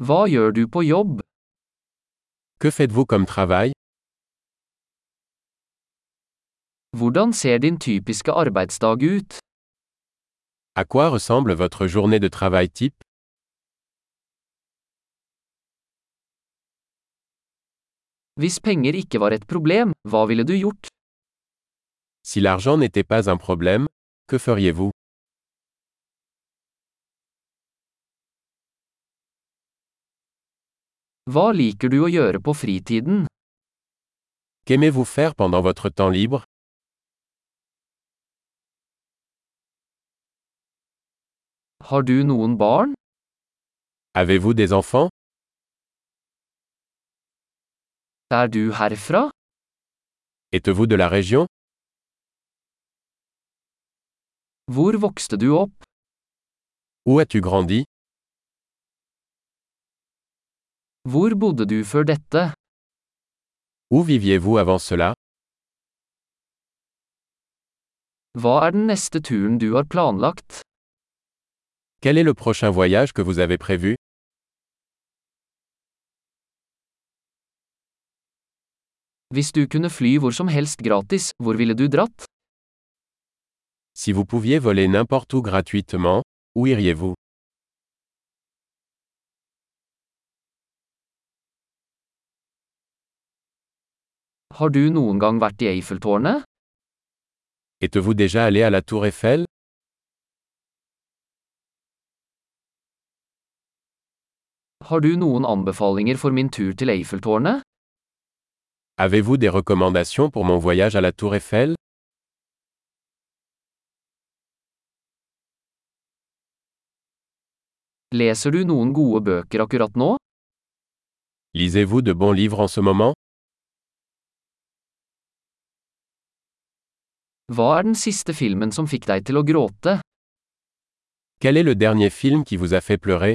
Hva gjør du på jobb? Que faites-vous comme travail Hvordan ser din typiske arbeidsdag ut? À quoi ressemble votre journée de travail type Hvis penger ikke var et problem, hva ville du gjort? Si l'argent n'était pas un problème, que feriez-vous Hva liker du å gjøre på fritiden? Qu'aimez-vous faire pendant votre temps libre Har du noen barn? Avez-vous des enfants Er du herfra? Êtes-vous de la région Hvor vokste du opp? Où as-tu grandi Hvor bodde du før dette? Où viviez-vous avant cela Hva er den neste turen du har planlagt? Quel est le prochain voyage que vous avez prévu Hvis du kunne fly hvor som helst gratis, hvor ville du dratt? Si vous pouviez voler n'importe où gratuitement, où iriez-vous Har du noen gang vært i Eiffeltårnet? Êtes-vous déjà allé à la tour Eiffel Har du noen anbefalinger for min tur til Eiffeltårnet? Avez-vous des recommandations pour mon voyage à la tour Eiffel Leser du noen gode bøker akkurat nå? Lisez-vous de bons livres en ce moment Hva er den siste filmen som fikk deg til å gråte? Quel est le dernier film qui vous a fait pleurer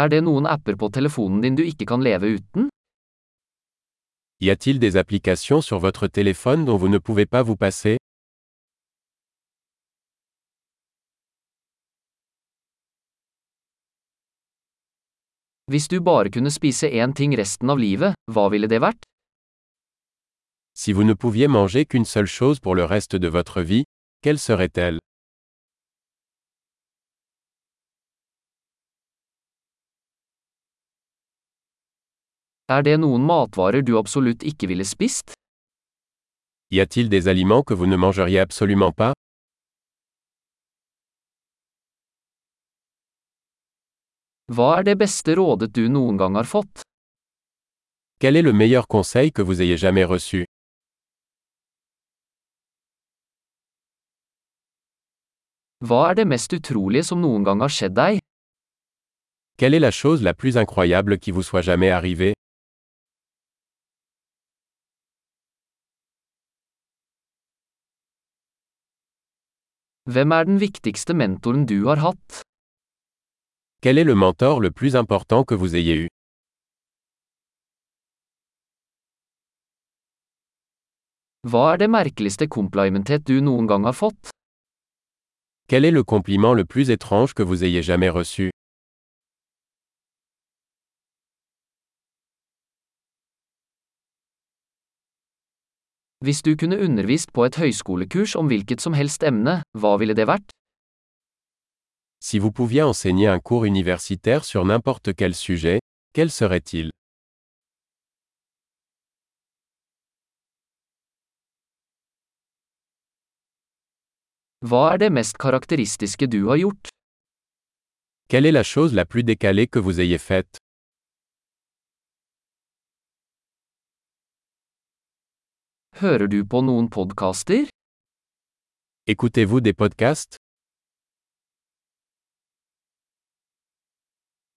Er det noen apper på telefonen din du ikke kan leve uten? Y a-t-il des applications sur votre téléphone dont vous ne pouvez pas vous passer Hvis du bare kunne spise én ting resten av livet, hva ville det vært? Si vous ne pouviez manger qu'une seule chose pour le reste de votre vie, quelle serait-elle Er det noen matvarer du absolutt ikke ville spist? Y a-t-il des aliments que vous ne mangeriez absolument pas Hva er det beste rådet du noen gang har fått? Quel est le meilleur conseil que vous ayez jamais reçu Hva er det mest utrolige som noen gang har skjedd deg? Quelle est la chose la plus incroyable qui vous soit jamais arrivée Hvem er den viktigste mentoren du har hatt? Quel est le mentor le plus important que vous ayez eu Hva er det merkeligste komplimentet du noen gang har fått? Quel est le compliment le plus étrange que vous ayez jamais reçu Hvis du kunne undervist på et høyskolekurs om hvilket som helst emne, hva ville det vært? Si vous pouviez enseigner un cours universitaire sur n'importe quel sujet, quel serait-il Hva er det mest karakteristiske du har gjort? Quelle est la chose la plus décalée que vous ayez faite Hører du på noen podkaster? Écoutez-vous des podcasts